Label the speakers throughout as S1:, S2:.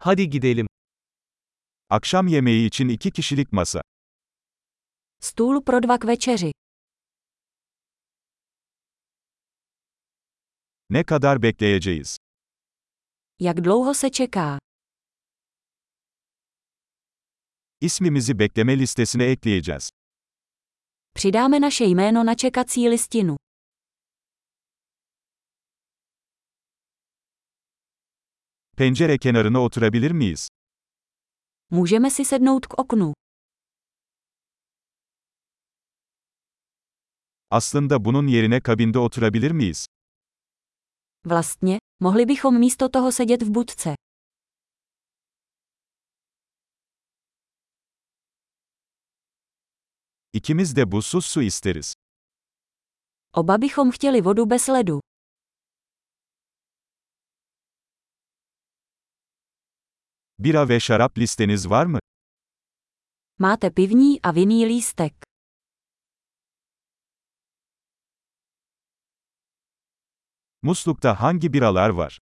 S1: Hadi gidelim.
S2: Akşam yemeği için iki kişilik masa.
S3: Stůl pro dva k večeři.
S2: Ne kadar bekleyeceğiz?
S3: Jak dlouho se čeká?
S2: İsmimizi bekleme listesine ekleyeceğiz.
S3: Přidáme naše jméno na čekací listinu.
S2: Pencere kenarına oturabilir miyiz?
S3: Můžeme si sednout k oknu.
S2: Aslında bunun yerine kabinde oturabilir miyiz?
S3: Vlastně, mohli bychom místo toho sedět v budce.
S2: İkimiz de buzsuz su isteriz.
S3: Oba bychom chtěli vodu bez ledu.
S2: Bira ve şarap listeniz var mı?
S3: Máte pivní a vinný lístek.
S2: Muslukta hangi biralar var?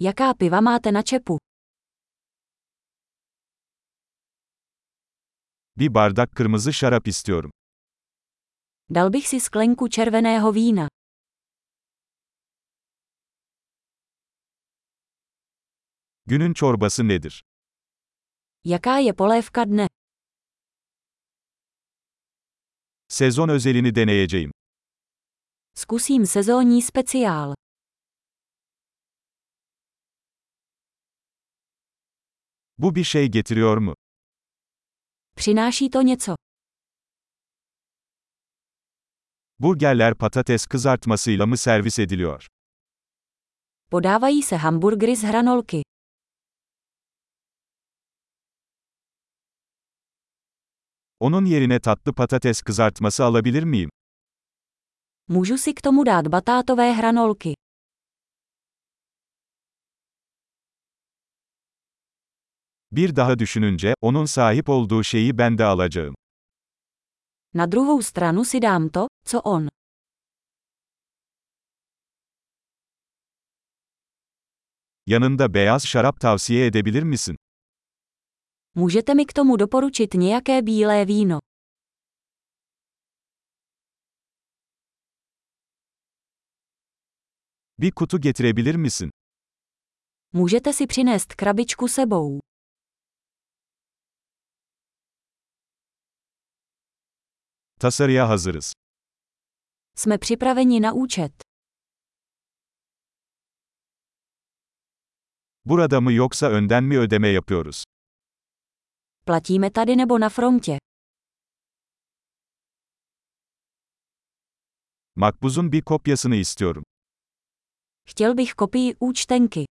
S3: Jaká piva máte na čepu?
S2: Bir bardak kırmızı şarap istiyorum.
S3: Dal bych si sklenku červeného vína.
S2: Günün çorbası nedir?
S3: Jaká je polévka dne?
S2: Sezon özelini deneyeceğim.
S3: Zkusím sezónní speciál.
S2: Bu bir şey getiriyor mu?
S3: Přináší to něco.
S2: Burgerler patates kızartmasıyla mı servis ediliyor?
S3: Podávají se hamburgery z hranolky.
S2: Onun yerine tatlı patates kızartması alabilir miyim?
S3: Můžu si k tomu dát batátové hranolky.
S2: Bir daha düşününce, onun sahip olduğu şeyi ben de alacağım.
S3: Na druhou stranu si dám to, co on.
S2: Yanında beyaz şarap tavsiye edebilir misin?
S3: Můžete mi k tomu doporučit nějaké bílé víno.
S2: Bir kutu getirebilir misin?
S3: Můžete si přinést krabičku sebou.
S2: Tasarıya hazırız.
S3: Jsme připraveni na účet.
S2: Burada mı yoksa önden mi ödeme yapıyoruz?
S3: Platíme tady nebo na frontě.
S2: Makbuzun bir kopyasını istiyorum.
S3: Chtěl bych kopii účtenky.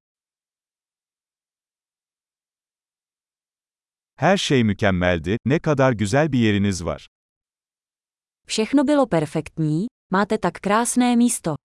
S2: Her şey mükemmeldi, ne kadar güzel bir yeriniz var.
S3: Všechno bylo perfektní, máte tak krásné místo.